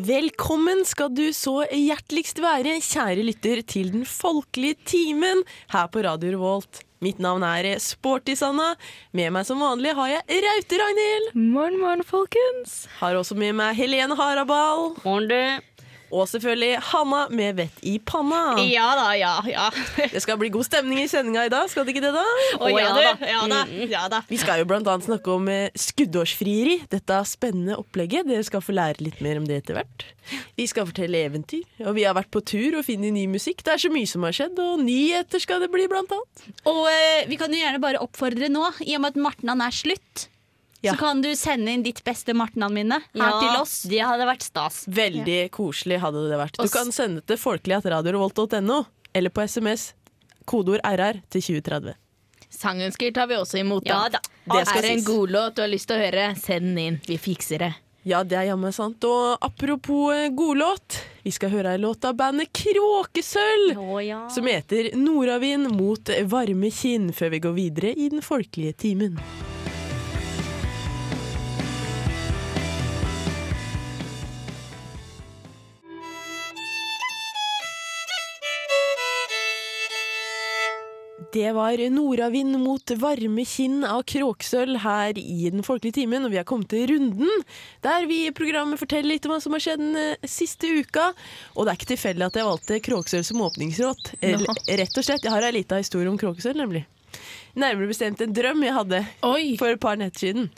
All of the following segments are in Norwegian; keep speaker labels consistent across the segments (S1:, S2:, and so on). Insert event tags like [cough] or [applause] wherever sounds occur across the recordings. S1: Velkommen skal du så hjerteligst være, kjære lytter, til den folkelige timen her på Radio Revolt. Mitt navn er Sporty Sanna. Med meg som vanlig har jeg Raute Ragnhild.
S2: Morgen, morgen, folkens.
S1: Har også med meg Helene Harabal.
S3: Morn, du.
S1: Og selvfølgelig Hanna med vett i panna.
S3: Ja da, ja. ja.
S1: Det skal bli god stemning i sendinga i dag, skal det ikke det, da?
S3: Å ja, du. Ja da. Mm. Ja da.
S1: Vi skal jo blant annet snakke om eh, skuddårsfrieri. Dette er spennende opplegget. Dere skal få lære litt mer om det etter hvert. Vi skal fortelle eventyr, og vi har vært på tur og finner ny musikk. Det er så mye som har skjedd, og nyheter skal det bli, blant annet.
S3: Og eh, vi kan jo gjerne bare oppfordre nå, i og med at martnan er slutt.
S1: Ja.
S3: Så kan du sende inn ditt beste martnan-minne her
S2: Ja,
S3: til oss. Det hadde vært stas.
S1: Veldig koselig hadde det vært. Du
S3: Og s-
S1: kan sende det til folkeligatradiorevolt.no, eller på SMS kodeord RR til 2030.
S4: Sangønsker tar vi også imot.
S3: Ja da.
S1: Det skal
S4: er det en
S1: sies.
S4: god låt du har lyst til å høre, send den inn. Vi fikser det.
S1: Ja, det er jammen sant. Og apropos eh, godlåt, vi skal høre ei låt av bandet Kråkesølv.
S3: Å ja.
S1: som heter Nordavind mot varme kinn, før vi går videre i den folkelige timen. Det var Nordavind mot varme kinn av Kråksølv her i Den folkelige timen, og vi har kommet til runden, der vi i programmet forteller litt om hva som har skjedd den eh, siste uka. Og det er ikke tilfeldig at jeg valgte Kråksølv som åpningsråd. Eh,
S4: Nå.
S1: Rett og slett, jeg har ei lita historie om Kråksølv, nemlig. Nærmere bestemt en drøm jeg hadde
S4: Oi!
S1: for et par netter siden.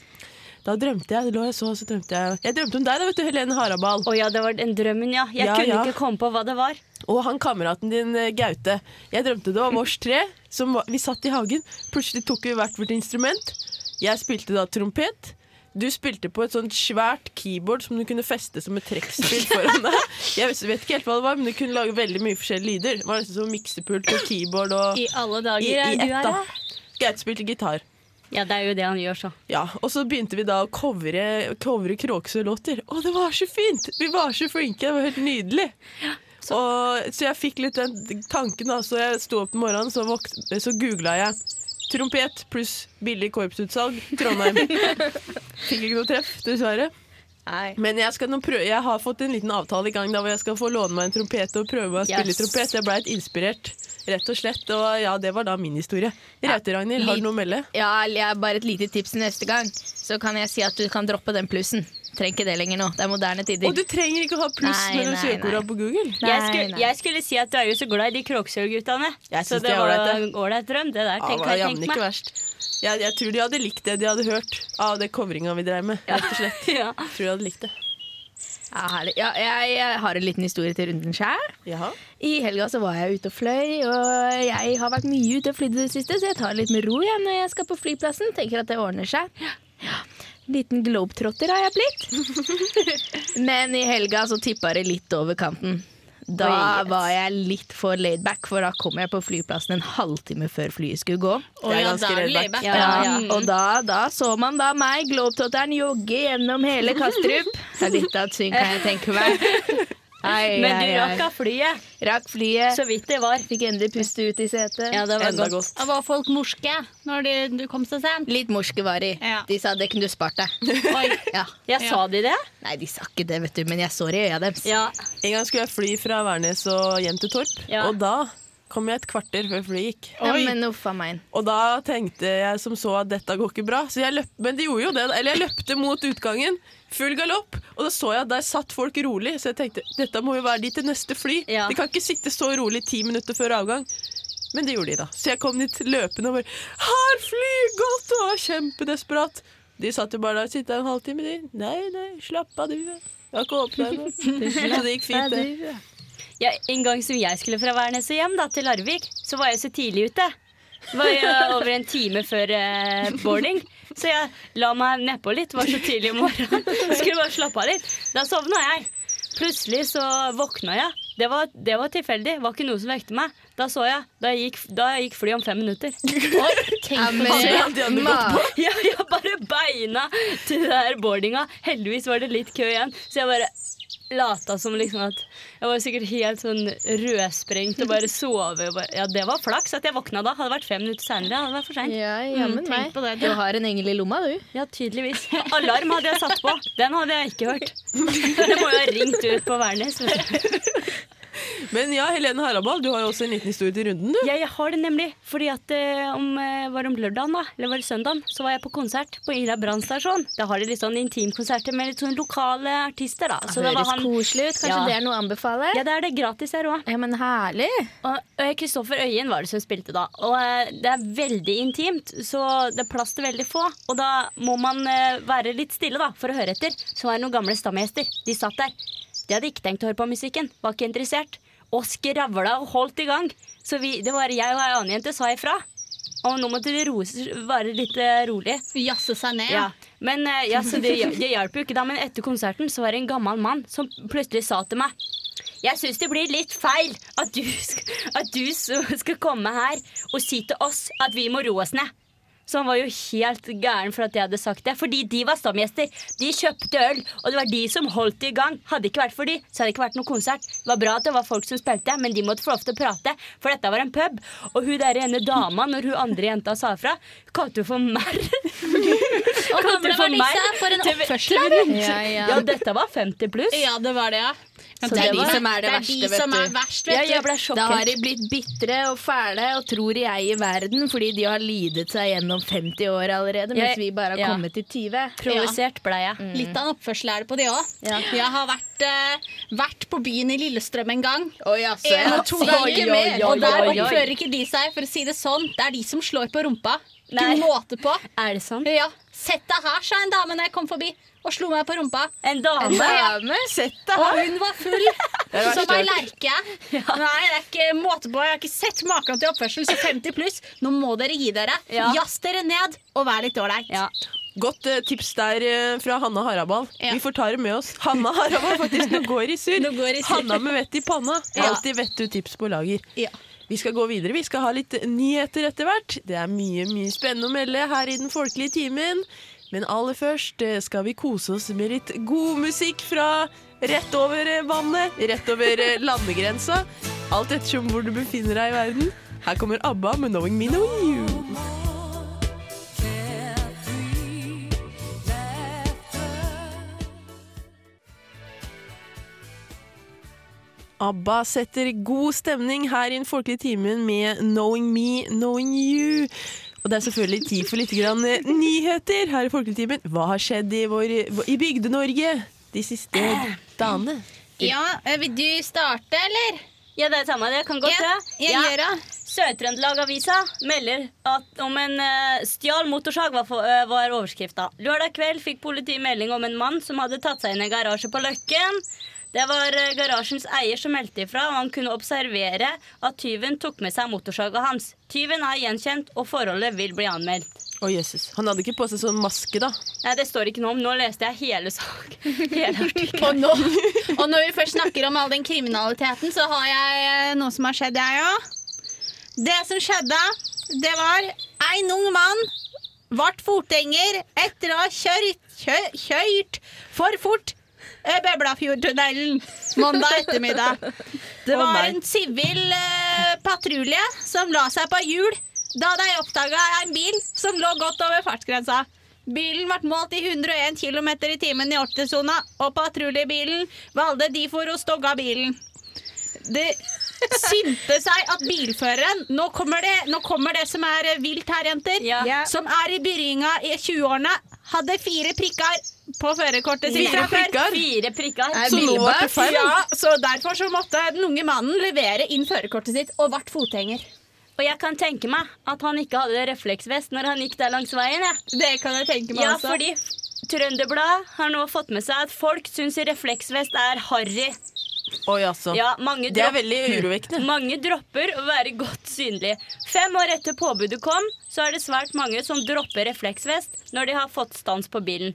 S1: Da drømte jeg, det lå jeg så, så drømte jeg Jeg drømte om deg da, vet du, Helene Harabal.
S2: Å ja, det var den drømmen, ja. Jeg
S1: Ja,
S2: kunne
S1: ja.
S2: ikke komme på hva det var.
S1: Og han kameraten din, eh, Gaute. Jeg drømte det var vårs tre. Som var, vi satt i hagen. Plutselig tok vi hvert vårt instrument. Jeg spilte da trompet. Du spilte på et sånt svært keyboard som du kunne feste som et trekkspill foran deg. Jeg vet, vet ikke helt hva det var, men du kunne lage veldig mye forskjellige lyder. Det var nesten som miksepult og keyboard og
S2: I
S1: i,
S2: alle dager.
S1: i ett,
S2: du er
S1: da.
S2: her.
S1: Gaute spilte gitar.
S2: Ja, det er jo det han gjør, så.
S1: Ja, Og så begynte vi da å covre, covre Kråksø-låter. Å, det var så fint! Vi var så flinke, det var helt nydelig. Så, og, så jeg fikk litt den tanken, da. Så jeg sto opp om morgenen, så, våk- så googla jeg. Trompet pluss billig korpsutsalg Trondheim. Fikk ikke noe treff, dessverre. Men jeg, skal nå prøve, jeg har fått en liten avtale i gang da, hvor jeg skal få låne meg en trompet og prøve meg å spille
S3: Yes.
S1: trompet. Jeg blei inspirert, rett og slett. Og ja, det var da min historie. Raute, Ragnhild, har
S4: litt-
S1: du noe å melde?
S4: Ja, jeg har bare et lite tips til neste gang. Så kan jeg si at du kan droppe den plussen. Trenger ikke det lenger nå. Det er moderne tider.
S1: Og du trenger ikke å ha pluss
S4: Nei,
S1: mellom
S4: nei,
S1: søkeorda
S4: nei.
S1: på Google.
S4: Nei,
S2: jeg, skulle,
S4: nei.
S2: jeg skulle si at du er jo så glad i de Kroksøy-guttene.
S1: Jeg
S2: Så
S1: synes
S2: det
S1: de er
S2: var
S1: ålreit,
S2: en ålreit drøm, det der.
S1: Ja, det
S2: Tenk hva
S1: var
S2: jeg
S1: jammen
S2: tenkte
S1: ikke
S2: meg. [laughs]
S1: verst. Jeg, jeg tror de hadde likt det de hadde hørt av det covringa vi dreiv med. Rett og slett.
S2: Ja.
S1: Jeg tror de hadde likt det.
S4: Ja, herlig. ja, jeg, jeg har en liten historie til runden sjæl.
S1: Jaha.
S4: I helga så var jeg ute og fløy, og jeg har vært mye ute og flydd i det siste, så jeg tar det litt med ro igjen når jeg skal på flyplassen. Tenker at det ordner seg. Ja. Liten globetrotter har jeg blitt.
S2: [laughs]
S4: Men i helga så tippa det litt over kanten. Da
S2: Oi, yes.
S4: var jeg litt for laidback, for da kom jeg på flyplassen en halvtime før flyet skulle gå.
S1: Det er ganske laid back.
S2: Ja,
S4: Ja, Og da, da så man da meg, globetrotteren, jogge gjennom hele
S2: [laughs]
S4: Kastrup. Det er litt av et syn, kan jeg tenke meg. Ai,
S2: Men du
S4: ai, ai.
S2: rakk av flyet,
S4: rakk flyet.
S2: så vidt det var.
S4: Fikk endelig puste ut i setet.
S2: Ja, det var
S1: Enda
S2: godt.
S1: godt.
S3: Var folk morske når de, du kom så sent?
S4: Litt morske var de.
S3: Ja.
S4: De sa det kunne du spart [laughs] deg.
S2: Oi.
S4: Ja.
S2: Ja, sa de det?
S4: Nei, de sa ikke det, vet du, men jeg så det i øya deres.
S2: Ja.
S1: En gang skulle jeg fly fra Værnes og hjem til Torp,
S2: Ja.
S1: og da kom jeg et kvarter før flyet gikk.
S4: Ja, men uff a meg.
S1: Og da tenkte jeg som så at dette går ikke bra, så jeg løp, men de gjorde jo det. da. Eller jeg løpte mot utgangen, full galopp, og da så jeg at der satt folk rolig. Så jeg tenkte dette må jo være de til neste fly.
S2: Ja.
S1: De kan ikke sitte så rolig ti minutter før avgang. Men det gjorde de, da. Så jeg kom dit løpende og bare Har flyet gått? Og var kjempedesperat. De satt jo bare der og sittet en halvtime, de. Nei, nei, slapp av, du. Jeg har ikke åpna ennå. Så det gikk fint, det.
S2: Ja, en gang som jeg skulle fra Værnes og hjem da, til Larvik, så var jeg så tidlig ute. Det var jeg over en time før eh, boarding, så jeg la meg nedpå litt. Det var så [laughs] tidlig om morgenen. Skulle bare slappe av litt. Da sovna jeg. Plutselig så våkna jeg Det var, det var tilfeldig. Det var ikke noe som vekte meg. Da så jeg. Da gikk, da gikk flyet om fem minutter.
S3: Oi, tenk på det.
S1: hadde jeg gått på.
S2: [laughs] Ja, jeg bare beina til den der boardinga. Heldigvis var det litt kø igjen, så jeg bare lata som liksom at Jeg var sikkert helt sånn rødsprengt og bare sove. og Bare, ja, det var flaks at jeg våkna da. Hadde det vært fem minutter seinere, hadde det vært for seint.
S4: Ja,
S3: Mm,
S4: jammen meg. Du har en engel i lomma, du.
S2: Ja, tydeligvis. [laughs] Alarm hadde jeg satt på. Den hadde jeg ikke hørt. Det må jo ha ringt ut på Værnes. vet du.
S1: Men ja, Helene Harabal, du har jo også en liten historie til runden, du.
S2: Ja, jeg har det nemlig. Fordi at eh, om, eh, var det om lørdagen, da, eller var det søndagen, så var jeg på konsert på Ila brannstasjon. Da har de litt sånn intimkonserter med litt sånn lokale artister, da. Så Ah, det var
S4: Høres
S2: han
S4: koselig ut. Kanskje
S2: Ja.
S4: det er noe å anbefale?
S2: Ja, det er det gratis her òg.
S4: Ja, men herlig.
S2: Og eh, Kristoffer Øyen var det som spilte da. Og eh, det er veldig intimt, så det er plass til veldig få. Og da må man eh, være litt stille da, for å høre etter. Så var det noen gamle stamgjester. De satt der. De hadde ikke tenkt å høre på musikken. Var ikke interessert. Og skravla og holdt i gang. Så vi, det var jeg og ei annen jente sa ifra. Og nå måtte de roe seg- være litt eh, rolig.
S3: Jazze seg ned.
S2: Ja. Men eh, ja, så det,
S3: [laughs]
S2: [laughs] det hjalp jo ikke da, men etter konserten så var det en gammel mann som plutselig sa til meg Jeg syns det blir litt feil at du, sk- at du så- skal komme her og si til oss at vi må roe oss ned. Så han var jo helt gæren for at jeg hadde sagt det. Fordi de var stamgjester. De kjøpte øl, og det var de som holdt det i gang. Hadde det ikke vært for de, så hadde det ikke vært noen konsert. Det var bra at det var folk som spilte, men de måtte få lov til å prate, for dette var en pub. Og hun der ene dama, når hun andre jenta sa fra, kalte hun for
S3: [laughs]
S2: merr.
S3: Og
S2: Kalte
S3: gamle
S2: for meg
S3: Vernice, for en
S2: til-
S3: oppførsel.
S2: til venninne.
S4: Ja, ja.
S2: Ja, dette var 50 pluss.
S3: Ja, det var det, ja.
S2: Så det var-
S3: det er de som er verst,
S2: Ja,
S3: vet du.
S2: jeg ble
S4: Da har
S2: sjokkert.
S4: de blitt bitre og fæle og tror jeg i verden fordi de har lidet seg gjennom 50 år allerede, mens
S2: Jeg-
S4: vi bare har
S2: ja.
S4: kommet til 20.
S2: Provosert ble jeg.
S3: Litt av en oppførsel er det på de òg.
S4: Ja.
S3: Jeg har vært, eh, vært på byen i Lillestrøm en gang.
S4: Oi, altså,
S3: En
S4: ja.
S3: og to
S4: Oi,
S3: ganger
S4: oi,
S3: mer.
S4: oi,
S3: Og der
S2: oi, oi.
S3: oppfører ikke de seg, for å si det sånn. Det er de som slår på rumpa. Ikke
S2: Nei.
S3: måte på.
S2: Er det sånn?
S3: Ja. Sett deg her, sa en dame når jeg kom forbi, og slo meg på rumpa.
S2: En dame?
S4: Dame, sett deg
S3: Og hun var full
S1: var
S3: som ei
S1: størt.
S3: lerke. Nei, det er ikke måte på. Jeg har ikke sett maken til oppførsel, så 50 pluss. Nå må dere gi dere.
S2: Ja.
S3: Jazz dere ned, og vær litt ålreit.
S2: Ja.
S1: Godt eh, tips der eh, fra Hanna Harabal.
S3: Ja.
S1: Vi får ta det med oss. Hanna Harabal faktisk, nå går i
S3: [laughs]
S1: surr.
S3: Nå går i surr.
S1: Hanna med vett i panna.
S3: Ja.
S1: Alltid vett du tips på lager.
S3: Ja.
S1: Vi skal gå videre. Vi skal ha litt eh, nyheter etter hvert. Det er mye mye spennende å melde her i den folkelige timen. Men aller først eh, skal vi kose oss med litt god musikk fra rett over eh, vannet, rett over eh, landegrensa. Alt ettersom hvor du befinner deg i verden. Her kommer ABBA med 'Knowing Me Knowing You'. ABBA setter god stemning her i den folkelige timen med 'Knowing Me, Knowing You'. Og det er selvfølgelig tid for litt grann eh, nyheter her i folkelige timen. Hva har skjedd i, vår- i Bygde-Norge de siste dagene?
S3: Ja, eh, Vil du starte, eller?
S2: ja, det er samme det. Kan godt
S3: Ja,
S2: det.
S3: jeg
S2: Ja.
S3: gjør det.
S2: Sør-Trøndelag-avisa melder at om en uh, stjal motorsag, var, for- eh, var overskrifta. Lørdag kveld fikk politiet melding om en mann som hadde tatt seg inn i en garasje på Løkken. Det var eh, garasjens eier som meldte ifra, og han kunne observere at tyven tok med seg motorsaga hans. Tyven er gjenkjent, og forholdet vil bli anmeldt.
S1: Å jøsses. Han hadde ikke på seg sånn maske, da.
S2: Nei, det står ikke noe om. Nå leste jeg hele
S1: [laughs]
S2: sak. Hele
S3: Og,
S2: artikkelen.
S3: nå, og når vi først snakker om all den kriminaliteten, så har jeg eh, noe som har skjedd, jeg òg. Det som skjedde, det var en ung mann ble fotgjenger etter å ha kjørt, kjø, kjørt for fort eh, Beblafjordtunnelen mandag ettermiddag. Det
S1: Å,
S3: var
S1: nei.
S3: en sivil eh, patrulje som la seg på hjul da de oppdaga en bil som lå godt over fartsgrensa. Bilen ble målt i 101 km i timen i Ortesona, og patruljebilen valgte de for å stogge bilen. Det synte seg at bilføreren Nå kommer det, nå kommer det som er eh, vilt her, jenter.
S2: Ja. Ja.
S3: Som er i byringa i 20-årene. Hadde fire prikker på førerkortet sitt
S1: Fire
S3: fra før.
S1: prikker.
S2: Fire prikker.
S1: Så nå ble det feil.
S3: Ja, så derfor så måtte den unge mannen levere inn førerkortet sitt og ble fotgjenger.
S2: Og jeg kan tenke meg at han ikke hadde refleksvest når han gikk der langs veien. Jeg.
S3: Det kan jeg tenke meg
S2: Ja,
S1: altså.
S3: også.
S2: fordi Trønderbladet har nå fått med seg at folk syns refleksvest er harry.
S1: Oi, altså.
S2: Ja, mange
S1: Det er
S2: dropp-
S1: veldig urovekkende.
S2: Mange dropper å være godt synlig. Fem år etter påbudet kom, så er det svært mange som dropper refleksvest når de har fått stans på bilen.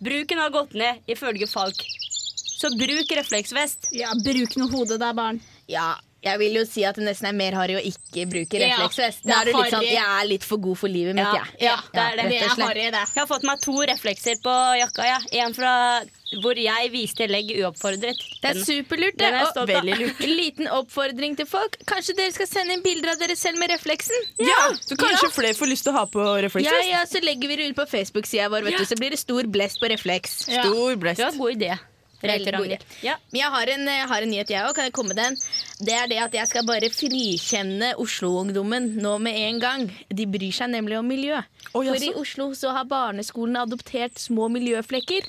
S2: Bruken har gått ned, ifølge Falk. så bruk refleksvest.
S3: Ja, bruk noe hode da, barn.
S4: Ja, jeg vil jo si at det nesten er mer harry å ikke bruke
S3: Ja,
S4: refleksvest.
S3: det
S4: Da
S3: er
S4: er du litt sånn,
S3: harry.
S4: jeg er litt for god for livet mitt,
S2: Ja,
S4: jeg.
S2: ja,
S4: Ja,
S2: det er det.
S4: rett
S3: Det
S4: og
S3: er
S4: slett.
S3: harry, det.
S2: Jeg har fått meg to reflekser på jakka. Ja. En fra hvor jeg viste legg uoppfordret.
S3: Mm.
S4: Det er
S2: Den-
S4: superlurt, det.
S2: Den er jeg
S4: Og
S2: stolt av.
S4: veldig lurt. Liten oppfordring til folk. Kanskje dere skal sende inn bilder av dere selv med refleksen?
S1: Ja, så kanskje flere får lyst til å ha på
S4: Ja,
S1: refleksvest.
S4: ja, så legger vi det ut på Facebook-sida vår, vet du. Så blir det stor blest på refleks.
S3: Ja.
S1: Stor
S2: Det var en
S1: blest.
S2: god idé.
S4: Veldig god idé.
S2: Ragnhild. Ja.
S4: Men jeg har en, jeg har en nyhet, jeg òg. Kan jeg komme med den? Det er det at jeg skal bare frikjenne Oslo-ungdommen nå med en gang. De bryr seg nemlig om miljø.
S1: Å,
S4: For i
S1: jaså?
S4: Oslo så har barneskolene adoptert små miljøflekker.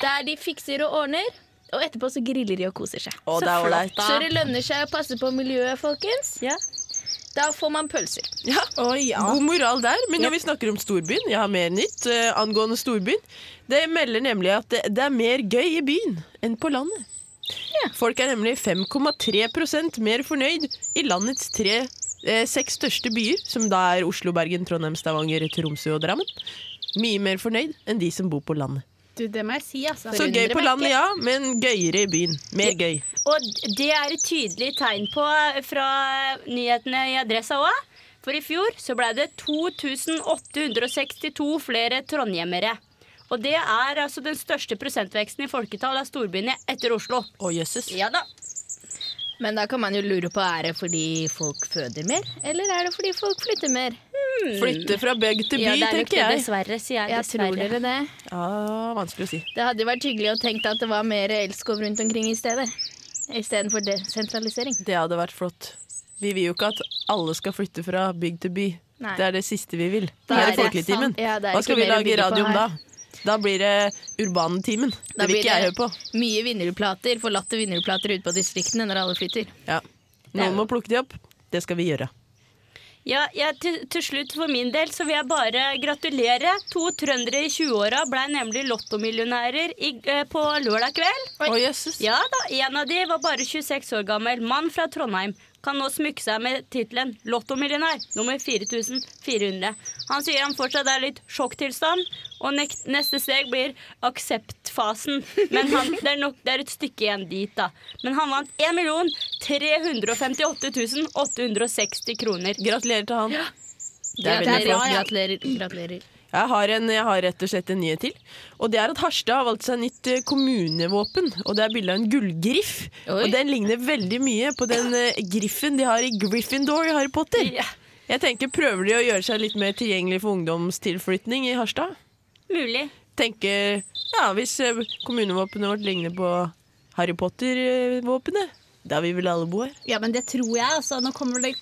S4: Der de fikser og ordner. Og etterpå så griller de og koser seg.
S1: Å, det er ålreit.
S4: Så det lønner seg å passe på miljøet, folkens.
S2: Ja.
S4: Da får man pølser.
S1: Ja. God moral der. Men når vi snakker om storbyen, jeg har mer nytt eh, angående storbyen. Det melder nemlig at det, det er mer gøy i byen enn på landet. Folk er nemlig 5,3 mer fornøyd i landets tre, eh, seks største byer, som da er Oslo, Bergen, Trondheim, Stavanger, Tromsø og Drammen. Mye mer fornøyd enn de som bor på landet.
S3: Du, det må jeg si, altså.
S1: Så gøy på landet, ja, men gøyere i byen. Mer gøy.
S2: Og det er et tydelig tegn på fra nyhetene i Adressa òg. For i fjor så ble det 2862 flere trondhjemmere. Og det er altså den største prosentveksten i folketall av storbyene etter Oslo.
S1: Å, jøsses.
S2: Ja da.
S4: Men da kan man jo lure på er det fordi folk føder mer, eller er det fordi folk flytter mer?
S1: Flytte fra bygd til by,
S2: Ja, det er nok
S1: tenker
S2: det,
S1: jeg.
S2: dessverre, sier jeg.
S4: Jeg tror
S2: dessverre.
S4: dere det.
S1: Ja, vanskelig å si.
S4: Det hadde jo vært hyggelig å tenke at det var mer elskov rundt omkring i stedet. Istedenfor desentralisering.
S1: Det hadde vært flott. Vi vil jo ikke at alle skal flytte fra bygd til by.
S4: Nei.
S1: Det er det siste vi vil.
S4: Da
S1: Det
S4: er
S1: er
S4: det
S1: folketimen.
S4: sant. Ja, det er
S1: Hva skal
S4: ikke
S1: vi
S4: mer å
S1: lage
S4: bygge på
S1: radio om da?
S4: her.
S1: Da blir det Urbanetimen. Det vil ikke jeg høre på.
S4: mye vinnerplater, forlatte vinnerplater ute på distriktene når alle flytter.
S1: Ja.
S4: er-
S1: Noen må plukke de opp. Det skal vi gjøre.
S2: Ja, jeg, til, til slutt for min del så vil jeg bare gratulere. To trøndere i 20-åra ble nemlig lottomillionærer i- eh, på lørdag kveld.
S1: Å, jøsses.
S2: Ja da, En av de var bare 26 år gammel, mann fra Trondheim. Kan nå smykke seg med tittelen lottomillionær nummer 4400. Han sier han fortsatt er litt sjokktilstand, og nekt, neste steg blir akseptfasen. Men han, det, er nok, det er et stykke igjen dit, da. Men han vant 1 358 860 kroner.
S1: Gratulerer til han. Det er veldig
S4: Gratulerer.
S1: flott.
S4: gratulerer, gratulerer.
S1: Jeg har, en, jeg har rett og slett en nye til. Og det er at Harstad har valgt seg nytt eh, kommunevåpen. Og det er bilde av en gullgriff.
S4: Oi.
S1: Og den ligner veldig mye på den eh, griffen de har i Gryffindor i Harry Potter.
S2: [laughs] Ja.
S1: Jeg tenker Prøver de å gjøre seg litt mer tilgjengelig for ungdomstilflytning i Harstad?
S2: Mulig.
S1: Tenker ja, hvis eh, kommunevåpenet vårt ligner på Harry Potter-våpenet, da vil vel alle bo her.
S3: Ja, men det tror jeg, altså. Nå kommer det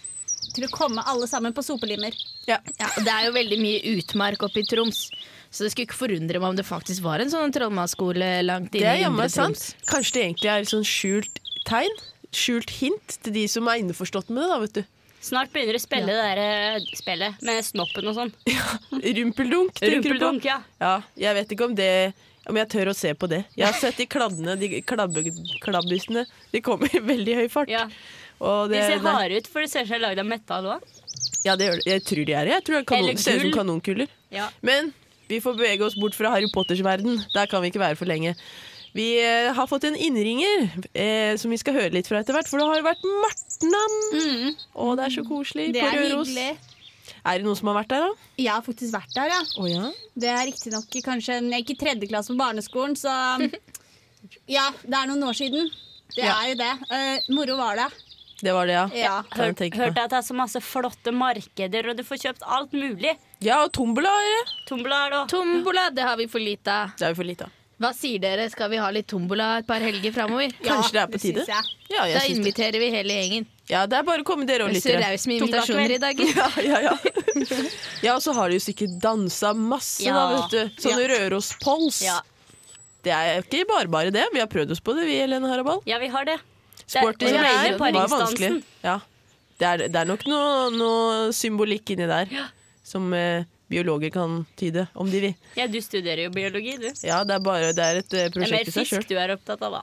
S3: til å komme alle sammen på sopelimer.
S1: Ja.
S4: Ja, og det er jo veldig mye utmark oppe i Troms, så det skulle ikke forundre meg om det faktisk var en sånn trollmannsskole langt
S1: Det
S4: inne
S1: er
S4: i
S1: jammen
S4: Indre
S1: sant.
S4: Troms.
S1: Kanskje det egentlig er et sånn skjult tegn? Skjult hint til de som er innforstått med det, da,
S2: [laughs]
S1: vet du.
S2: Snart begynner du å spille det der eh, spillet med snoppen og sånn.
S1: Rumpeldunk, tenker du på?
S2: Rumpeldunk, ja.
S1: Ja, jeg vet ikke om det om jeg tør å se på det. Jeg
S2: [laughs]
S1: har sett de kladdene, de klabbe, klabbisene. De kommer i veldig høy fart.
S2: ja.
S1: Og
S2: De
S1: det,
S2: ser
S1: det,
S2: harde ut, for det ser ut som de er lagd av metall òg.
S1: ja, det gjør det. Jeg tror de er det. Jeg tror det er kanon,
S2: Eller
S1: ser ut som
S2: gull.
S1: kanonkuler.
S2: Ja.
S1: Men vi får bevege oss bort fra Harry Potters verden. Der kan vi ikke være for lenge. Vi eh, har fått en innringer eh, som vi skal høre litt fra etter hvert, for det har vært Martnan.
S3: Mm.
S1: Å, det er så koselig
S3: Det
S1: på
S3: er
S1: Røros.
S3: hyggelig.
S1: Er det noen som har vært der, da?
S3: Jeg har faktisk vært der, ja.
S1: Å ja.
S3: Det er riktignok kanskje Jeg gikk i tredje klasse på barneskolen, så [laughs] Ja, det er noen år siden. Det
S1: Ja.
S3: er jo det. Eh, moro var det.
S1: Det var det, ja.
S3: Ja.
S1: Kan jeg
S2: Hør,
S1: tenke
S2: hørte
S1: meg.
S2: at det er så masse flotte markeder, og du får kjøpt alt mulig.
S1: Ja, og tombola er det.
S2: Tombola er det også.
S4: Tombola, det har vi for lite av.
S1: Det er jo for lite av.
S4: Hva sier dere, skal vi ha litt tombola et par helger framover?
S3: Ja,
S1: Kanskje det er på tide?
S3: syns jeg.
S1: Ja, jeg
S4: Da
S1: syns det.
S4: inviterer vi hele gjengen.
S1: Ja, det er bare å komme dere og
S4: Så
S1: lyttere.
S4: raus med
S2: Tombola
S4: invitasjoner i dag.
S1: [laughs] Ja,
S2: [laughs]
S1: ja, ja. ja, og så har de jo sikkert dansa masse, da,
S2: Ja.
S1: vet du. Sånne Røros-pols.
S2: Ja.
S1: Det er ikke bare bare det. Vi har prøvd oss på det, vi, Helene Harabal.
S2: ja, vi har det.
S1: Sporty
S2: Det er-
S1: som
S2: det er
S1: eier var vanskelig.
S2: paringsdansen.
S1: Ja. Det, er, det er nok noe, noe symbolikk inni der som eh, biologer kan tyde, om de vil.
S2: Ja, du studerer jo biologi, du. Det
S1: Ja, det er, bare, det er et eh,
S2: er mer
S1: prosjekt i seg sjøl.
S2: fisk du er opptatt av, da.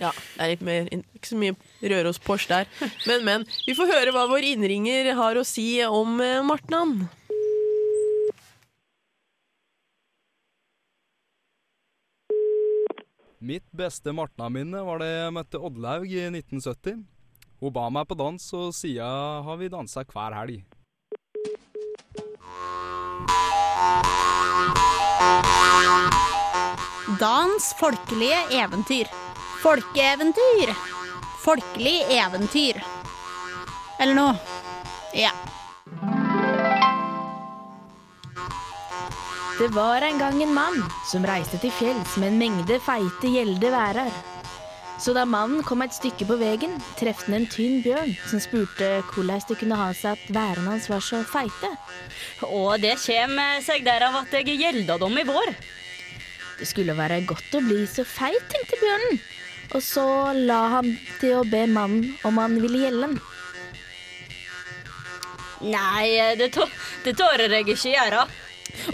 S1: Ja, det er litt mer, ikke så mye Røros-Porsch der. Men, men. Vi får høre hva vår innringer har å si om eh, Martnan.
S5: Mitt beste Martna-minne var da jeg møtte Oddlaug i 1970. Hun ba meg på dans, og siden har vi dansa hver helg.
S3: Dans folkelige eventyr. Folkeeventyr. Folkelig eventyr. Eller noe. Ja.
S4: Det var en gang en mann som reiste til fjells med en mengde feite gjelde værer. Så da mannen kom et stykke på vegen, trefte han en tynn bjørn som spurte hvordan det kunne ha seg at værene hans var så feite.
S2: Og det eh, kjem seg derav at jeg gjelda dem i vår.
S4: Det skulle være godt å bli så feit, tenkte bjørnen. Og så la han til å be mannen om han ville gjelde den.
S2: Nei, eh, det, tå det tårer jeg ikke gjøre.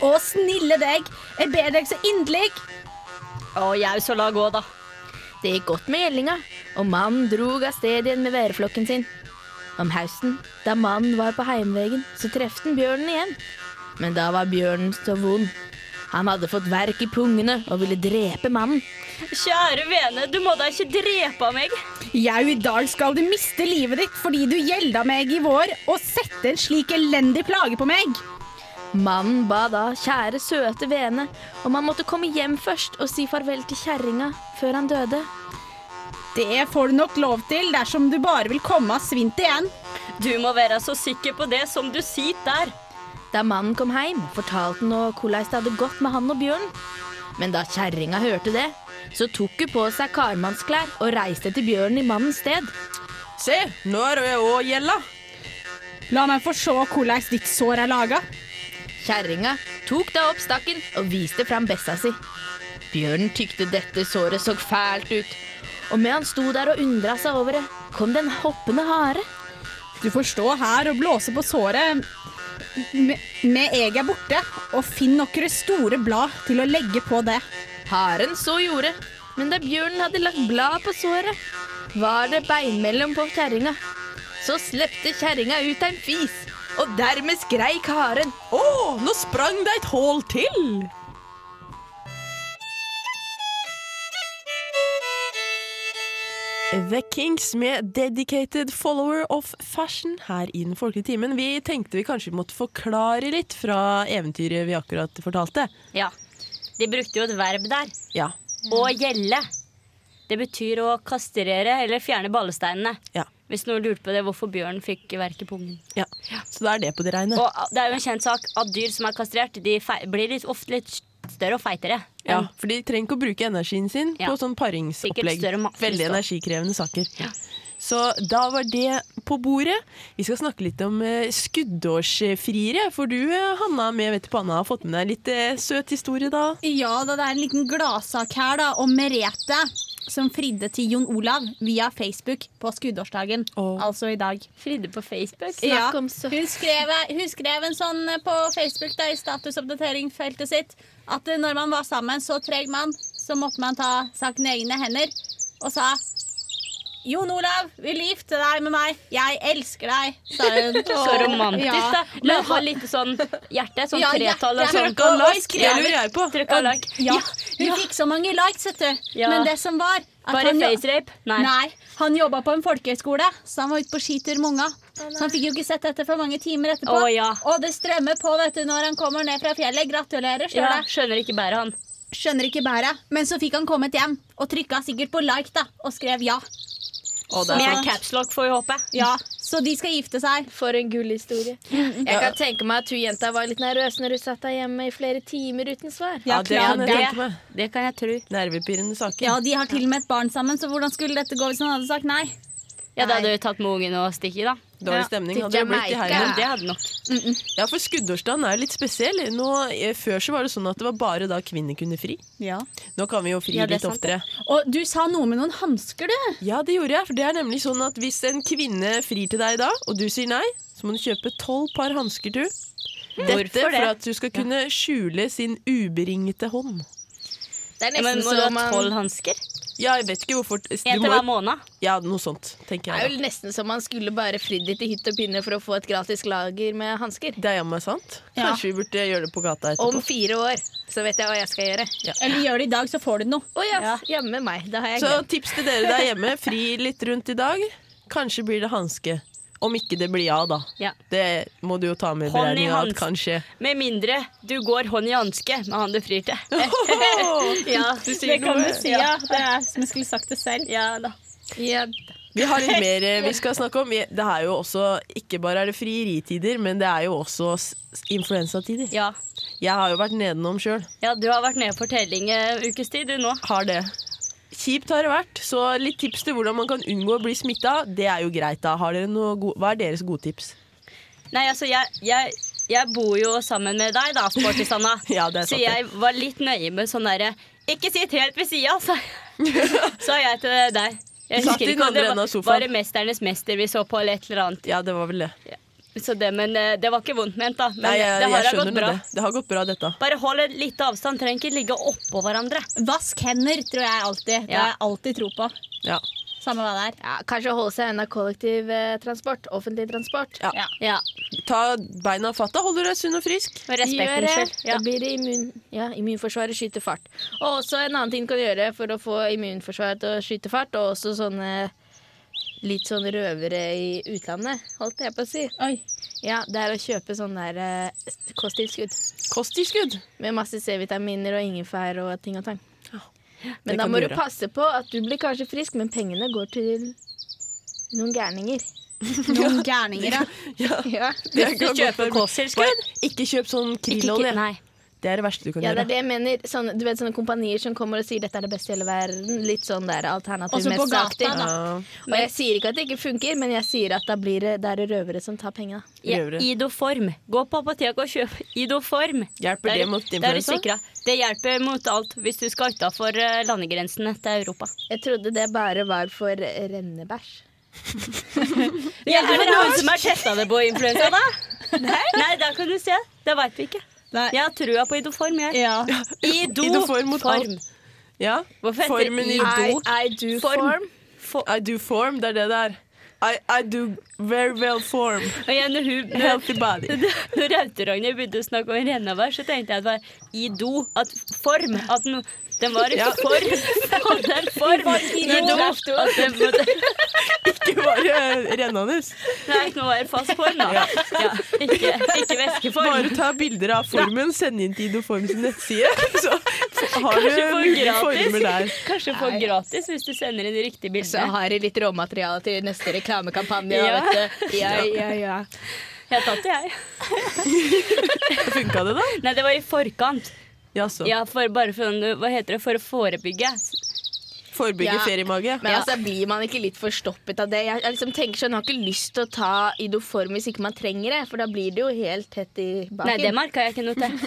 S3: Å, snille deg. Jeg ber deg så inderlig.
S2: Og jau, så la gå, da.
S4: Det gikk godt med gjeldinga, og mannen drog av sted igjen med værflokken sin. Om høsten, da mannen var på heimvegen, så trefte han bjørnen igjen. Men da var bjørnen så vond. Han hadde fått verk i pungene og ville drepe mannen.
S2: Kjære vene, du må da ikke drepe meg.
S6: Jau, i dag skal du miste livet ditt fordi du gjelda meg i vår og sette en slik elendig plage på meg.
S4: Mannen ba da kjære, søte vene om han måtte komme hjem først og si farvel til kjerringa før han døde.
S6: Det får du nok lov til dersom du bare vil komme av svint igjen.
S2: Du må være så sikker på det som du sitter der.
S4: Da mannen kom hjem, fortalte han nå hvordan det hadde gått med han og bjørnen. Men da kjerringa hørte det, så tok hun på seg karmannsklær og reiste til bjørnen i mannens sted.
S1: Se,
S2: Eh.
S1: nå er det òg gjelda.
S6: La meg få se hvordan ditt sår er laga.
S4: Kjerringa tok da opp stakken og viste fram bessa si. Bjørnen tykte dette såret så fælt ut, og med han sto der og undra seg over det, kom det en hoppende hare.
S6: Du får stå her og blåse på såret med med jeg er borte, og finn noen store blad til å legge på det.
S4: Haren så gjorde, men da bjørnen hadde lagt blad på såret, var det beinmellom på kjerringa. Så slepte kjerringa ut en fis, og dermed skreik haren.
S1: Å, nå sprang det et hull til! The Kinks med 'Dedicated Follower of Fashion' her i Den folkelige timen. Vi tenkte vi kanskje måtte forklare litt fra eventyret vi akkurat fortalte.
S2: Ja, de brukte jo et verb der.
S1: Ja.
S2: Å gjelde. Det betyr å kastrere eller fjerne ballesteinene.
S1: Ja.
S2: Hvis noen lurte på det, hvorfor bjørnen fikk verk i pungen.
S1: ja. Så da er det på det reine.
S2: [laughs] Og ah, det er jo en kjent sak at dyr som er kastrert, de fei- blir litt, ofte litt større og feitere.
S1: Ja, for de trenger ikke å bruke energien sin
S2: Ja.
S1: på sånn paringsopplegg.
S2: Sikkert større matlyst
S1: Veldig
S2: også.
S1: energikrevende saker.
S2: Ja.
S1: Så da var det på bordet. Vi skal snakke litt om eh, skuddårsfriere. For du, eh, Hanna med vett i panna, har fått med deg litt eh, søt historie, da.
S3: Ja da, det er en liten gladsak her da, om Merete som fridde til Jon Olav via Facebook på skuddårsdagen,
S1: Åh.
S3: altså i dag.
S2: Fridde på Facebook.
S4: Snakk om så
S3: Hun skrev, hun skrev en sånn på Facebook da, i statusoppdateringsfeltet sitt at eh, når man var sammen så treg man, så måtte man ta saken i egne hender og sa Jon Olav vil gifte deg med meg. Jeg elsker deg, sa
S2: [laughs]
S3: hun.
S2: Så romantisk,
S3: Ja.
S2: da. La oss ha litt sånn hjerte, sånn
S3: Ja,
S2: tretall og
S3: hjerte.
S2: sånn.
S1: Trykk av
S3: og- og
S1: like! Det lurer jeg på.
S2: Trykk av like.
S3: Ja, hun fikk så mange likes, vet du.
S2: Ja.
S3: Men det som var at
S2: Bare
S3: han-
S2: facerape? Nei.
S3: Nei, han jobba på en folkehøyskole, så han var ute på skitur med unga. Så han fikk jo ikke sett dette for mange timer etterpå.
S2: Å, ja.
S3: Og det strømmer på vet du, når han kommer ned fra fjellet. Gratulerer, står
S2: Ja,
S3: det.
S2: skjønner ikke bæret han.
S3: Skjønner ikke bæret. Men så fikk han kommet hjem og trykka sikkert på like da, og skrev ja.
S1: Og det er
S2: Med
S1: sånn.
S2: capslock, får vi håpe.
S3: Ja, Så de skal gifte seg.
S4: For en gull historie. Jeg kan tenke meg at hun jenta var litt nervøs når hun satt der hjemme i flere timer uten svar.
S1: Ja, det kan jeg tenke meg.
S2: det kan jeg tro.
S1: Nervepirrende saker.
S3: Ja, De har til og med et barn sammen, så hvordan skulle dette gå hvis han hadde sagt nei?
S2: Ja, Da hadde du tatt med ungen og stikket, da.
S1: Dårlig stemning hadde det blitt i
S2: Men
S1: heimen.
S2: det hadde nok.
S1: Ja, for skuddårsdagen er jo litt spesiell. Nå, eh, før så var det sånn at det var bare da kvinner kunne fri.
S3: Ja.
S1: Nå kan vi jo fri
S2: Ja, [laughs] det er
S1: litt
S2: sant,
S1: oftere.
S2: det.
S3: Og du sa noe med noen hansker, du.
S1: Ja, det gjorde jeg. For det er nemlig sånn at hvis en kvinne frir til deg i dag, og du sier nei, så må du kjøpe tolv par hansker, du. Dette
S2: Mm. Hvorfor det?
S1: for at du skal kunne skjule sin uberingete hånd.
S4: Det er
S2: Ja, men
S4: nesten
S2: må du
S4: så
S2: ha
S4: man
S2: tolv hansker?
S1: Jeg vet ikke hvorfor de
S2: En til
S1: må-
S2: hver måned.
S1: Ja, noe sånt, tenker
S4: Det er
S1: jeg.
S4: jo nesten som man skulle bare fridd dit i hytt og pinne for å få et gratis lager med hansker.
S1: da. Det er jammen sant.
S6: Ja.
S1: Kanskje vi burde gjøre det på gata
S4: Om
S1: etterpå.
S4: fire år så vet jeg hva jeg skal gjøre.
S6: Eller gjør det i dag, så får du noe.
S4: Å ja, hjemme meg. Det har jeg
S1: Så
S4: glemt.
S1: tips til dere der hjemme, fri litt rundt i dag. Kanskje blir det hanske. Om ikke det blir ja, da.
S2: Ja.
S1: Det må du jo ta med i
S2: Hånd i
S1: beregninga at
S2: hanske.
S1: kan
S2: [laughs]
S1: skje.
S2: Med mindre du går hånd i hanske med han du frir til. Ja, du
S6: Det kan du si, ja. Det er som jeg skulle sagt det selv.
S2: Ja da.
S4: Ja,
S1: Vi har litt mer eh, vi skal snakke om. Vi- Det er jo også, Ikke bare er det frieritider, men det er jo også s- influensatider.
S2: Ja.
S1: Jeg har jo vært nedenom sjøl.
S2: ja, du har vært nede for telling en ukes tid, eh, du nå.
S1: Har det. Kjipt har det vært, så litt tips til hvordan man kan unngå å bli smitta, det er jo greit. da. Har dere noe go Hva er deres gode tips?
S2: Nei, altså, jeg, jeg, jeg bor jo sammen med deg, da, Sporty Sanna.
S1: [laughs] Ja, det er sant, det.
S2: så jeg var litt nøye med sånn derre Ikke sitt helt ved sida, sa
S1: [laughs]
S2: sa jeg til deg. Jeg
S1: Du satt i den
S2: om
S1: andre
S2: det
S1: enden
S2: var,
S1: av sofaen.
S2: var det 'Mesternes mester' vi så på, eller et eller annet.
S1: Ja, det var vel det.
S2: Så det, men eh, det var ikke vondt ment, da. Men
S1: Nei, jeg, jeg
S2: det har da
S1: skjønner
S2: gått bra.
S1: det. Det har gått bra, dette.
S2: Bare hold en liten avstand. Trenger ikke ligge oppå hverandre.
S6: Vask hender, tror jeg alltid. Det
S2: Ja.
S6: har jeg alltid tro på.
S1: Ja.
S6: Samme hva det er.
S4: ja, kanskje holde seg unna kollektivtransport. Offentlig transport.
S1: Ja.
S2: Ja,
S1: Ta beina av fatta, holder deg sunn og frisk.
S2: Med respekten
S4: Gjør
S2: selv.
S4: det. Da
S2: Ja.
S4: blir det immun, ja, immunforsvaret skyter fart. Og også en annen ting du kan gjøre for å få immunforsvaret til å skyte fart, og også sånne litt sånn røvere i utlandet, holdt jeg på å si.
S6: Oi.
S4: Ja, det er å kjøpe sånn der eh, kosttilskudd
S1: Kosttilskudd.
S4: med masse C-vitaminer og ingefær og ting og tang.
S1: Det
S4: Men da
S1: kan
S4: må
S1: du
S4: du
S1: gjøre.
S4: passe på at du blir kanskje frisk, men pengene går til noen gærninger.
S6: Noen gærninger, ja.
S4: Ja.
S1: Det
S2: Du
S1: kan godt være-
S2: kjøper kosttilskudd.
S1: Ikke kjøp sånn
S2: Ikke-
S1: krillolje.
S2: Nei.
S1: Det er det verste du kan
S4: Ja, det
S1: gjøre.
S4: er det jeg mener. Sånne, du vet sånne kompanier som kommer og sier 'dette er det beste i hele verden'. Litt sånn der alternativ
S6: Også på
S4: mest-aktig.
S6: gata, da.
S1: Ja.
S4: Og jeg sier ikke at det ikke funker, men jeg sier at da blir det, det er det røvere som tar pengene.
S2: Ja,
S1: Røvere.
S2: Idoform. Gå på apoteket og kjøp Idoform.
S1: Hjelper det mot
S2: der er du
S1: influensa?
S2: sikra. Det hjelper mot alt hvis du skal utafor landegrensene til Europa.
S4: Jeg trodde det bare var for rennebæsj.
S2: Ja, er det noen som har testa det på influensa, da? Nei, Nei da kan du se. Det veit vi ikke.
S6: Nei.
S2: Jeg har trua på Idoform, jeg.
S6: Ja.
S1: Idoform
S2: [laughs] Idoform.
S1: mot alt. Ja.
S2: Hvorfor heter
S1: Formen i
S2: I-
S1: do.
S4: I do
S2: Form. For,
S1: I do form, det er det det er. I, I do very well
S4: [laughs]
S1: form.
S2: og igjen, når hun, når-
S1: Healthy body.
S2: når Raute-Ragnhild begynte å snakke om rennevær, så tenkte jeg at det var ido. At form. At den, den var ikke
S1: Ja.
S2: form. [laughs] Hadde en form. Ido. At den, måtte-
S1: Ikke bare eh, rennende.
S2: Nei, nå er det fast form, da. Ja, ikke, ikke væskeform.
S1: Bare ta bilder av formen, send inn til Idoform sin nettside, [laughs] så har du
S2: Kanskje få
S1: mulige former der.
S2: gratis. Kanskje få gratis hvis du sender inn riktig
S4: Så
S2: bilde.
S4: har de litt råmateriale til neste reklamekampanje.
S2: Ja.
S4: vet du. [laughs] Ja, ja, ja.
S2: Jeg tatt det, jeg.
S1: Funka det, da?
S2: Nei, det var i forkant.
S1: Jaså.
S2: Ja, for, bare for, hva heter det, for å forebygge.
S1: Forebygge
S4: Ja.
S1: feriemage.
S4: Men altså, blir man ikke litt forstoppet av det? Jeg, jeg liksom tenker sånn, jeg har ikke lyst til å ta Idoform hvis ikke man trenger det, for da blir det jo helt tett i baken.
S2: Nei, det merka jeg ikke noe til.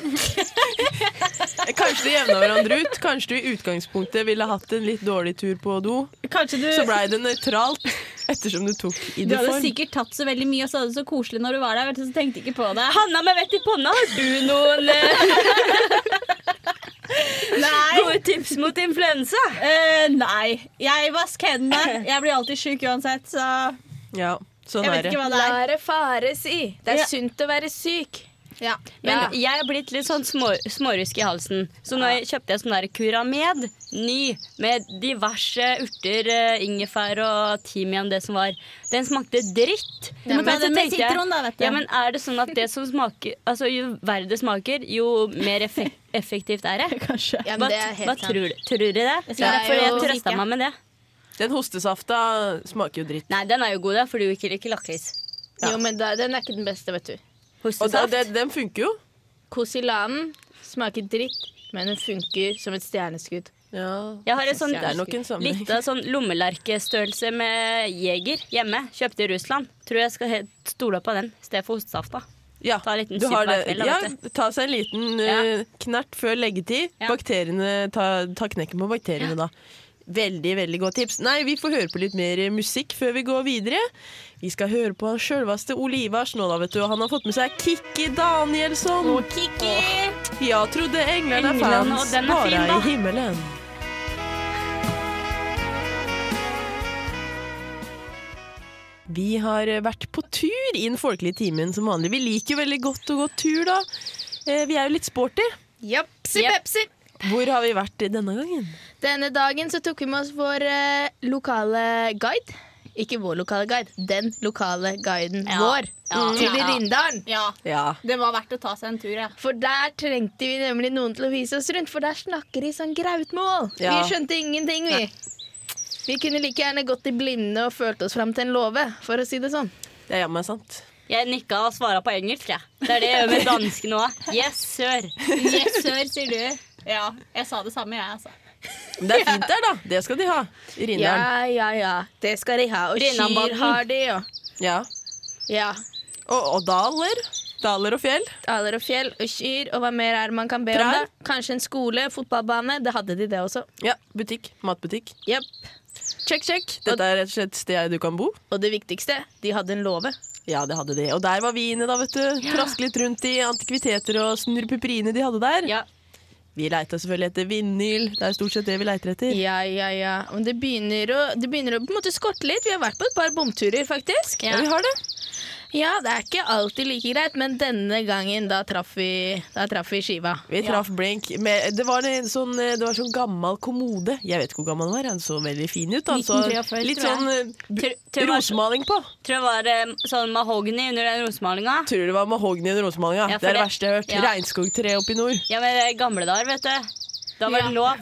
S1: Kanskje de jevna hverandre ut. Kanskje du i utgangspunktet ville hatt en litt dårlig tur på do.
S6: Kanskje du,
S1: Så blei det nøytralt ettersom du tok
S6: du hadde
S1: Idoform.
S6: sikkert tatt så veldig mye, og så hadde du det så koselig når du var der. Vet du, så tenkte jeg ikke på det.
S2: Hanna med vett i panna, har du noen eh,
S6: [laughs] Nei.
S2: gode tips mot influensa?
S6: Eh, nei. Jeg vasker hendene. Jeg blir alltid sjuk uansett, så
S1: Ja, sånn
S6: jeg
S1: er
S6: vet
S1: det.
S6: ikke hva det er.
S4: La det fare si. Det er
S6: Ja.
S4: sunt å være syk.
S6: Ja.
S4: Ja.
S2: Men jeg er blitt litt sånn små, smårusk i halsen. Så nå kjøpte jeg sånn der Curamed ny med diverse urter, eh, ingefær og timian, det som var. Den smakte dritt.
S6: Du må ta
S2: så
S6: den med
S2: tenkte jeg,
S6: sitron, da, vet du.
S2: Ja, men er det sånn at det som smaker Altså, jo verre det smaker, jo mer effek effektivt er det?
S6: [laughs] Kanskje.
S4: Ja,
S2: Hva,
S4: men det er
S2: hva
S4: helt sant.
S2: tror, tror du det?
S6: Det
S2: Det er
S6: er
S2: derfor
S4: jo
S2: jeg trøsta
S6: ikke.
S2: meg med det.
S1: Den hostesafta smaker jo dritt.
S2: Nei, den er jo god, da, fordi du ikke liker lakris.
S4: Jo, men da, den er ikke den beste, vet du.
S1: Og da,
S2: Hostesaft.
S1: det, den funker jo.
S4: Kosilanen smaker dritt, men den funker som et stjerneskudd.
S1: Ja.
S2: Jeg har en sånn,
S1: Det er nok en sammenheng.
S2: litt av sånn lommelerkestørrelse med jeger hjemme. Kjøpte i Russland. Tror jeg skal he- stole på den i stedet for ostesaft. da.
S1: Ja,
S2: Ta en liten
S1: du
S2: sipp
S1: har
S2: hver
S1: det.
S2: kveld, da,
S1: ja,
S2: vet
S1: ta seg en liten
S2: Ja.
S1: eh, knert før leggetid.
S2: Ja.
S1: Bakteriene, ta, ta knekken på bakteriene da. Veldig veldig godt tips. Nei, Vi får høre på litt mer eh, musikk før vi går videre. Vi skal høre på han sjølveste Olivas nå, da, vet du. Og han har fått med seg Kikki Danielsson.
S2: Kikki!
S1: Ja, trodde englene
S2: Englene,
S1: fantes
S2: og den er
S1: bare
S2: fin, da.
S1: i himmelen. Vi har vært på tur i den folkelige timen som vanlig. Vi liker jo veldig godt å gå tur, da. Eh, Vi er jo litt sporty.
S4: Japsi
S2: Jep.
S4: pepsi!
S1: Hvor har vi vært denne gangen?
S4: Denne dagen så tok vi med oss vår eh, lokale guide. Ikke vår lokale guide, den lokale guiden
S3: Ja.
S4: vår.
S3: Ja.
S4: Til
S3: Ja.
S4: Rindalen.
S3: Ja,
S1: Ja.
S3: det var verdt å ta seg en tur, ja.
S4: For der trengte vi nemlig noen til å vise oss rundt, for der snakker de sånn grautmål.
S1: Ja.
S4: Vi skjønte ingenting, vi. Vi kunne like gjerne gått i blinde og følt oss fram til en låve, for å si det sånn.
S1: Det er jammen sant.
S2: Jeg nikka og svara på engelsk, jeg. Det er det jeg gjør med danskene òg. Yes, sir.
S3: Yes, sir, sier du. Ja, jeg sa det samme, jeg, altså.
S1: Men det er fint der, da. Det skal de ha. I Rindalen.
S4: Ja, ja, ja. Det skal de ha. Og
S2: Rinnanbanden.
S4: kyr har de, og
S1: Ja.
S4: ja.
S1: Og, og daler. Daler og fjell.
S4: Daler og fjell og kyr, og hva mer er det man kan be om?
S1: Trær.
S4: da? Kanskje en skole, fotballbane. Det hadde de, det også.
S1: Ja, butikk. Matbutikk.
S4: Jepp.
S1: Check, check. Dette er rett og slett stedet du kan bo.
S4: Og det viktigste, de hadde en låve.
S1: Ja, det hadde de. Og der var vi inne, da, vet du. Traske litt rundt i antikviteter og snurrepipriene de hadde der.
S2: Ja.
S1: Vi leita selvfølgelig etter vinyl. Det er stort sett det vi leiter etter.
S4: Ja, ja, ja. Men det begynner å, det begynner å på en måte skorte litt. Vi har vært på et par bomturer, faktisk.
S1: Ja, vi har det.
S4: Ja, det er ikke alltid like greit, men denne gangen da traff vi, da traff vi skiva.
S1: Vi traff Blink. Med, det, var en sånn, eh, det var sånn gammel kommode. Jeg vet ikke hvor gammel den var. Den så veldig fin ut. Altså,
S3: 1943,
S1: litt
S3: tror
S1: sånn
S2: Tror-
S1: eh,
S2: tror jeg-
S1: rosemaling på.
S2: Tror jeg var eh, sånn mahogni under den rosemalinga.
S1: Tror det var mahogni under rosemalinga.
S2: Ja, for
S1: det er det
S2: det-
S1: verste jeg har hørt.
S2: ja.
S1: Regnskogtre oppe i nord.
S2: Ja, men i gamle dager, vet du. Da var det lov.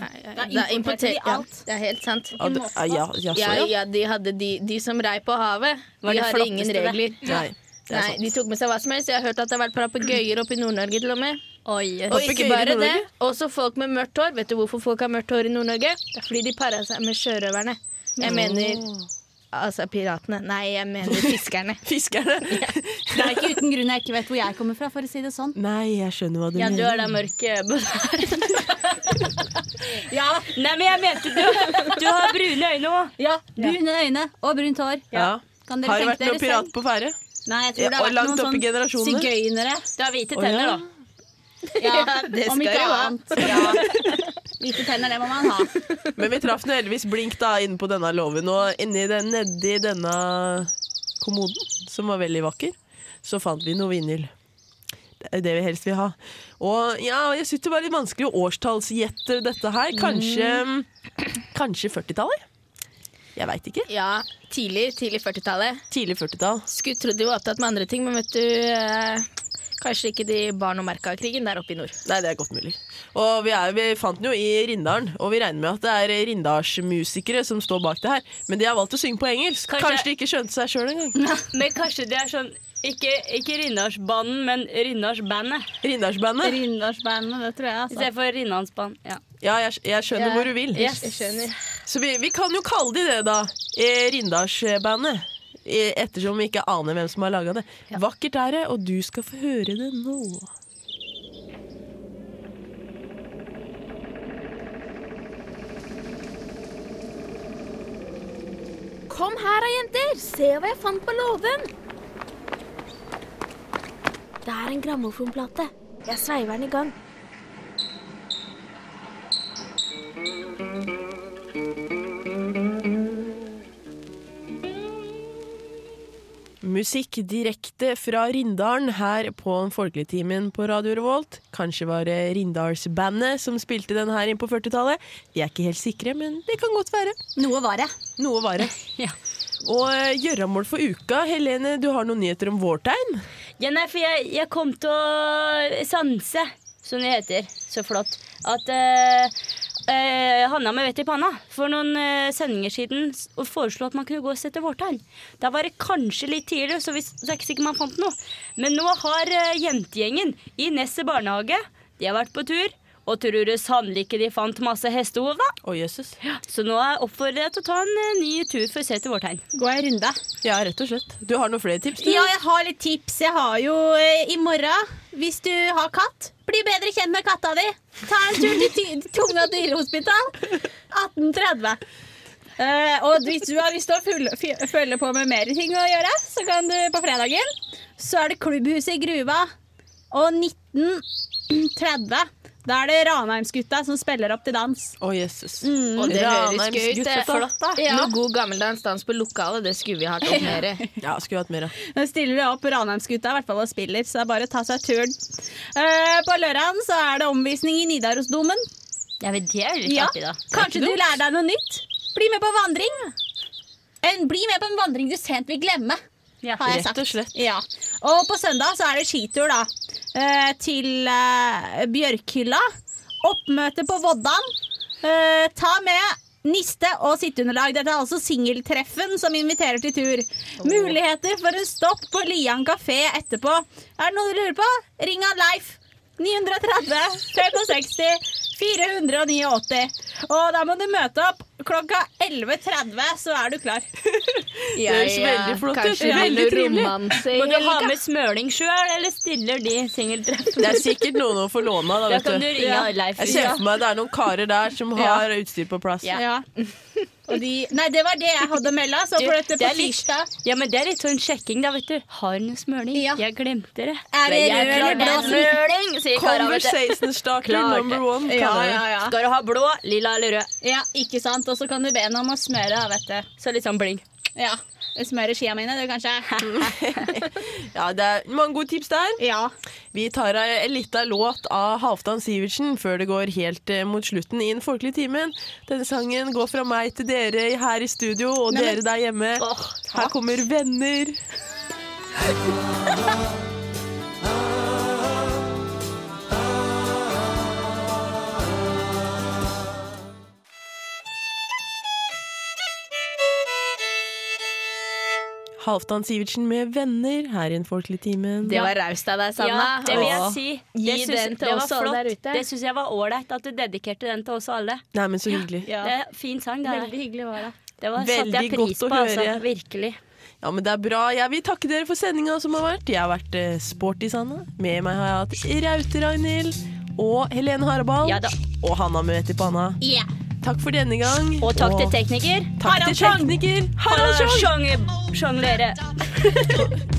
S3: Da importerte de alt.
S4: Ja, det er helt sant.
S1: Ja, det- ja, ja, ja, så,
S4: Ja,
S1: ja.
S4: ja, de, hadde de, de som rei på havet,
S2: Var
S4: de
S2: det
S4: hadde ingen
S2: flotteste det?
S4: regler.
S1: Nei, det er
S4: Nei,
S1: sant.
S4: De tok med seg hva som helst. Jeg har hørt at det har vært papegøyer oppe i Nord-Norge til og med.
S2: Oi.
S4: Og
S1: Papegøyer
S4: ikke
S1: i
S4: bare det,
S1: Nord-Norge?
S4: også folk med mørkt hår. Vet du hvorfor folk har mørkt hår i Nord-Norge? Det er fordi de para seg med sjørøverne. Jeg mener altså piratene. Nei, jeg mener fiskerne.
S1: Fiskerne.
S6: Det er ikke uten grunn jeg ikke vet hvor jeg kommer fra, for å si det sånn.
S1: [laughs] Nei, jeg skjønner hva du
S2: Ja, du
S1: mener.
S2: er den mørke Ja. Nei, men jeg mente du, du har brune øyne òg.
S6: Ja, Brune øyne og brunt hår.
S1: Ja.
S6: Kan dere
S1: Har det
S6: tenke
S1: vært noen
S6: dere
S1: pirat
S6: selv?
S1: på ferde?
S6: Nei,
S1: Ja,
S6: jeg tror det har
S1: og
S6: vært
S1: langt opp
S6: noen
S1: i
S6: sånn
S1: generasjonene?
S6: sigøynere.
S2: Du har hvite
S1: Å,
S2: tenner,
S1: ja.
S2: da.
S6: Ja,
S4: Det skal
S6: om ikke
S4: jo ha.
S6: annet.
S1: [laughs]
S6: Ja. Hvite tenner, det må man ha.
S1: Men vi traff nå heldigvis Blink da inne på denne låven, og inni den, nedi denne kommoden, som var veldig vakker, så fant vi noe vinyl. Det er det vi helst vil ha. Og ja, jeg syns det var litt vanskelig å årstallsgjette dette her. Kanskje,
S6: Mm.
S1: kanskje 40-tallet? Jeg veit ikke.
S4: [laughs] Ja, tidlig, tidlig 40-tallet.
S1: Tidlig 40-tall.
S4: Skulle tro de var opptatt med andre ting, men vet du eh, Kanskje ikke de bar noe merke av krigen der oppe i nord.
S1: Nei, det er godt mulig. Og vi, er, vi fant den jo i Rindalen, og vi regner med at det er rindalsmusikere som står bak det her. Men de har valgt å synge på engelsk.
S2: Kanskje-
S1: Kanskje, de ikke skjønte seg sjøl engang.
S2: Men kanskje det er sånn Ikke, ikke Rinnarsbanen, men Rinnarsbandet.
S1: Rindalsbandet.
S6: Rindalsbandet, det tror jeg. altså.
S2: I stedet for Rinnansbanen. Ja.
S1: Ja, jeg, jeg skjønner
S4: Ja.
S1: hvor du vil.
S2: Yes.
S4: Jeg skjønner.
S1: Så vi, vi kan jo kalle de det, da. eh, Rindalsbandet. Eh, Ettersom vi ikke aner hvem som har laga det. Vakkert er det, og du skal få høre det nå.
S7: Kom her da, jenter. Se hva jeg fant på låven. Det er en grammofonplate. Jeg sveiver den i gang.
S1: Musikk direkte fra Rindalen her på Folkeligtimen på Radio Revolt. Kanskje var det Rindalsbandet som spilte den her inn på 40-tallet. Vi er ikke helt sikre, men det kan godt være.
S6: Noe var det.
S1: Noe var det. Og eh, gjøremål for uka. Helene, du har noen nyheter om vårtegn?
S2: Ja, nei, for jeg, jeg kom til å sanse, som det heter så flott, at eh, eh, Hanna med vett i panna for noen eh, sendinger siden s- og foreslo at man kunne gå og sette vårtegn. Da var det kanskje litt tidligere, så, hvis, så er det ikke sikkert man fant noe. Men nå har eh, jentegjengen i Nesset barnehage De har vært på tur, og tror du sannelig ikke de fant masse hestehov, da?
S1: Å, jøsses.
S2: Så nå oppfordrer jeg til å ta en eh, ny tur for å se etter vårtegn.
S6: Gå en runde.
S1: Ja, rett og slett. Du har noen flere tips? du?
S3: Ja, jeg har litt tips. Jeg har jo eh, i morgen, hvis du har katt, bli bedre kjent med katta di. Ta en tur til Ty- Tunga dyrehospital. 1830.
S6: Eh, og hvis du har lyst til å fulle- fy- følge på med mer ting å gjøre, så kan du på fredagen.
S3: Så er det klubbhuset i Gruva og 1930.
S8: Da er det Ranheimsgutta som spiller opp til dans.
S1: Å, Jesus.
S8: Mm.
S4: Og det høres
S1: Ranheims
S4: gøy ut.
S1: gutter,
S4: eh,
S1: flott, da.
S4: Noe god gammeldans dans på lokalet, det skulle vi hatt [laughs] opp mer i.
S1: Ja, skulle hatt mer av.
S8: Da stiller de opp Ranheimsgutta i hvert fall og spiller, så det er bare å ta seg turen. Eh, på lørdagen så er det omvisning i Nidarosdomen.
S3: Ja, men det er jo litt
S8: Ja.
S3: artig, da.
S8: Kanskje du lærer deg noe nytt?
S2: Bli med på vandring. En, bli med på en vandring du sent vil glemme,
S3: Ja.
S2: har jeg
S1: Rett
S2: sagt.
S1: og slett.
S2: Ja. Og på søndag så er det skitur, da. Eh, til eh, Bjørkhylla. Oppmøte på Voddan. Eh, ta med niste og sitteunderlag. Dette er altså singeltreffen som inviterer til tur. Muligheter for en stopp på Lian kafé etterpå. Er det noe du lurer på? Ring han Leif. 930 560 489. Og da må du møte opp klokka 11.30, så er du klar.
S1: Det høres veldig flott ut.
S4: Kanskje
S1: Veldig
S4: veldig
S1: trivelig.
S4: romanse i
S3: Må du ha
S4: helga.
S3: med smøling sjøl, eller stiller de singeltreff?
S1: Det er sikkert noen å få låne av, da,
S3: Da kan du
S1: vet du.
S3: ringe Leif. liksom.
S1: Jeg ser for meg det er noen karer der som har utstyr på plass.
S8: Ja.
S2: Og de, nei, det var det jeg hadde å melde. Så
S3: Du,
S2: for dette
S3: det
S2: på
S3: er litt-
S2: tirsdag
S3: Ja, men det er litt sånn sjekking, da, vet du. Har du noe smøling?
S2: Ja.
S3: Jeg glemte det.
S2: Er
S3: Men
S2: det
S3: jeg
S2: rød eller
S3: klarte
S2: blå
S3: en Smøling, sier kara, vet du.
S1: Conversation starter
S3: Klart det.
S1: number one.
S2: Ja,
S1: kaller jeg
S2: ja,
S1: det.
S2: ja.
S3: Skal du ha blå, lilla eller rød?
S2: ja, ikke sant. Og så kan du be henne om å smøre, da, vet du.
S3: Så litt sånn bling.
S2: Ja. Smøre skia mine, du, kanskje.
S3: [laughs]
S1: ja, det er mange gode tips der.
S2: Ja.
S1: Vi tar en liten låt av Halvdan Sivertsen før det går helt eh, mot slutten i den folkelige timen. Denne sangen går fra meg til dere her i studio, og dere der hjemme. Her kommer venner. Halvdan Sivertsen med venner her i den folkelige timen.
S4: Det var raust av deg, Sanna.
S3: Ja, det vil jeg si. Det
S4: Gi
S3: syns-
S4: den til
S3: det var
S4: oss alle
S3: flott.
S4: der ute.
S3: Det syns jeg var åleit at du dedikerte den til oss alle.
S1: Nei, men så hyggelig. Ja,
S3: Det er en fin sang. Det, er.
S4: Veldig hyggelig var det.
S3: det var, satte
S1: Veldig
S3: jeg pris
S1: godt å
S3: på, altså.
S1: høre.
S3: Virkelig.
S1: men det er bra. Jeg vil takke dere for sendinga som har vært. Jeg har vært eh, sporty, Sanna. Med meg har jeg hatt Raute Ragnhild og Helene Harabal.
S3: Ja da.
S1: Og Hanna Møti Panna.
S2: Yeah.
S1: Takk for denne gang.
S3: Og takk til tekniker.
S1: takk til tekniker Harald Schjong.
S3: Sjong- Sjonglere. [laughs]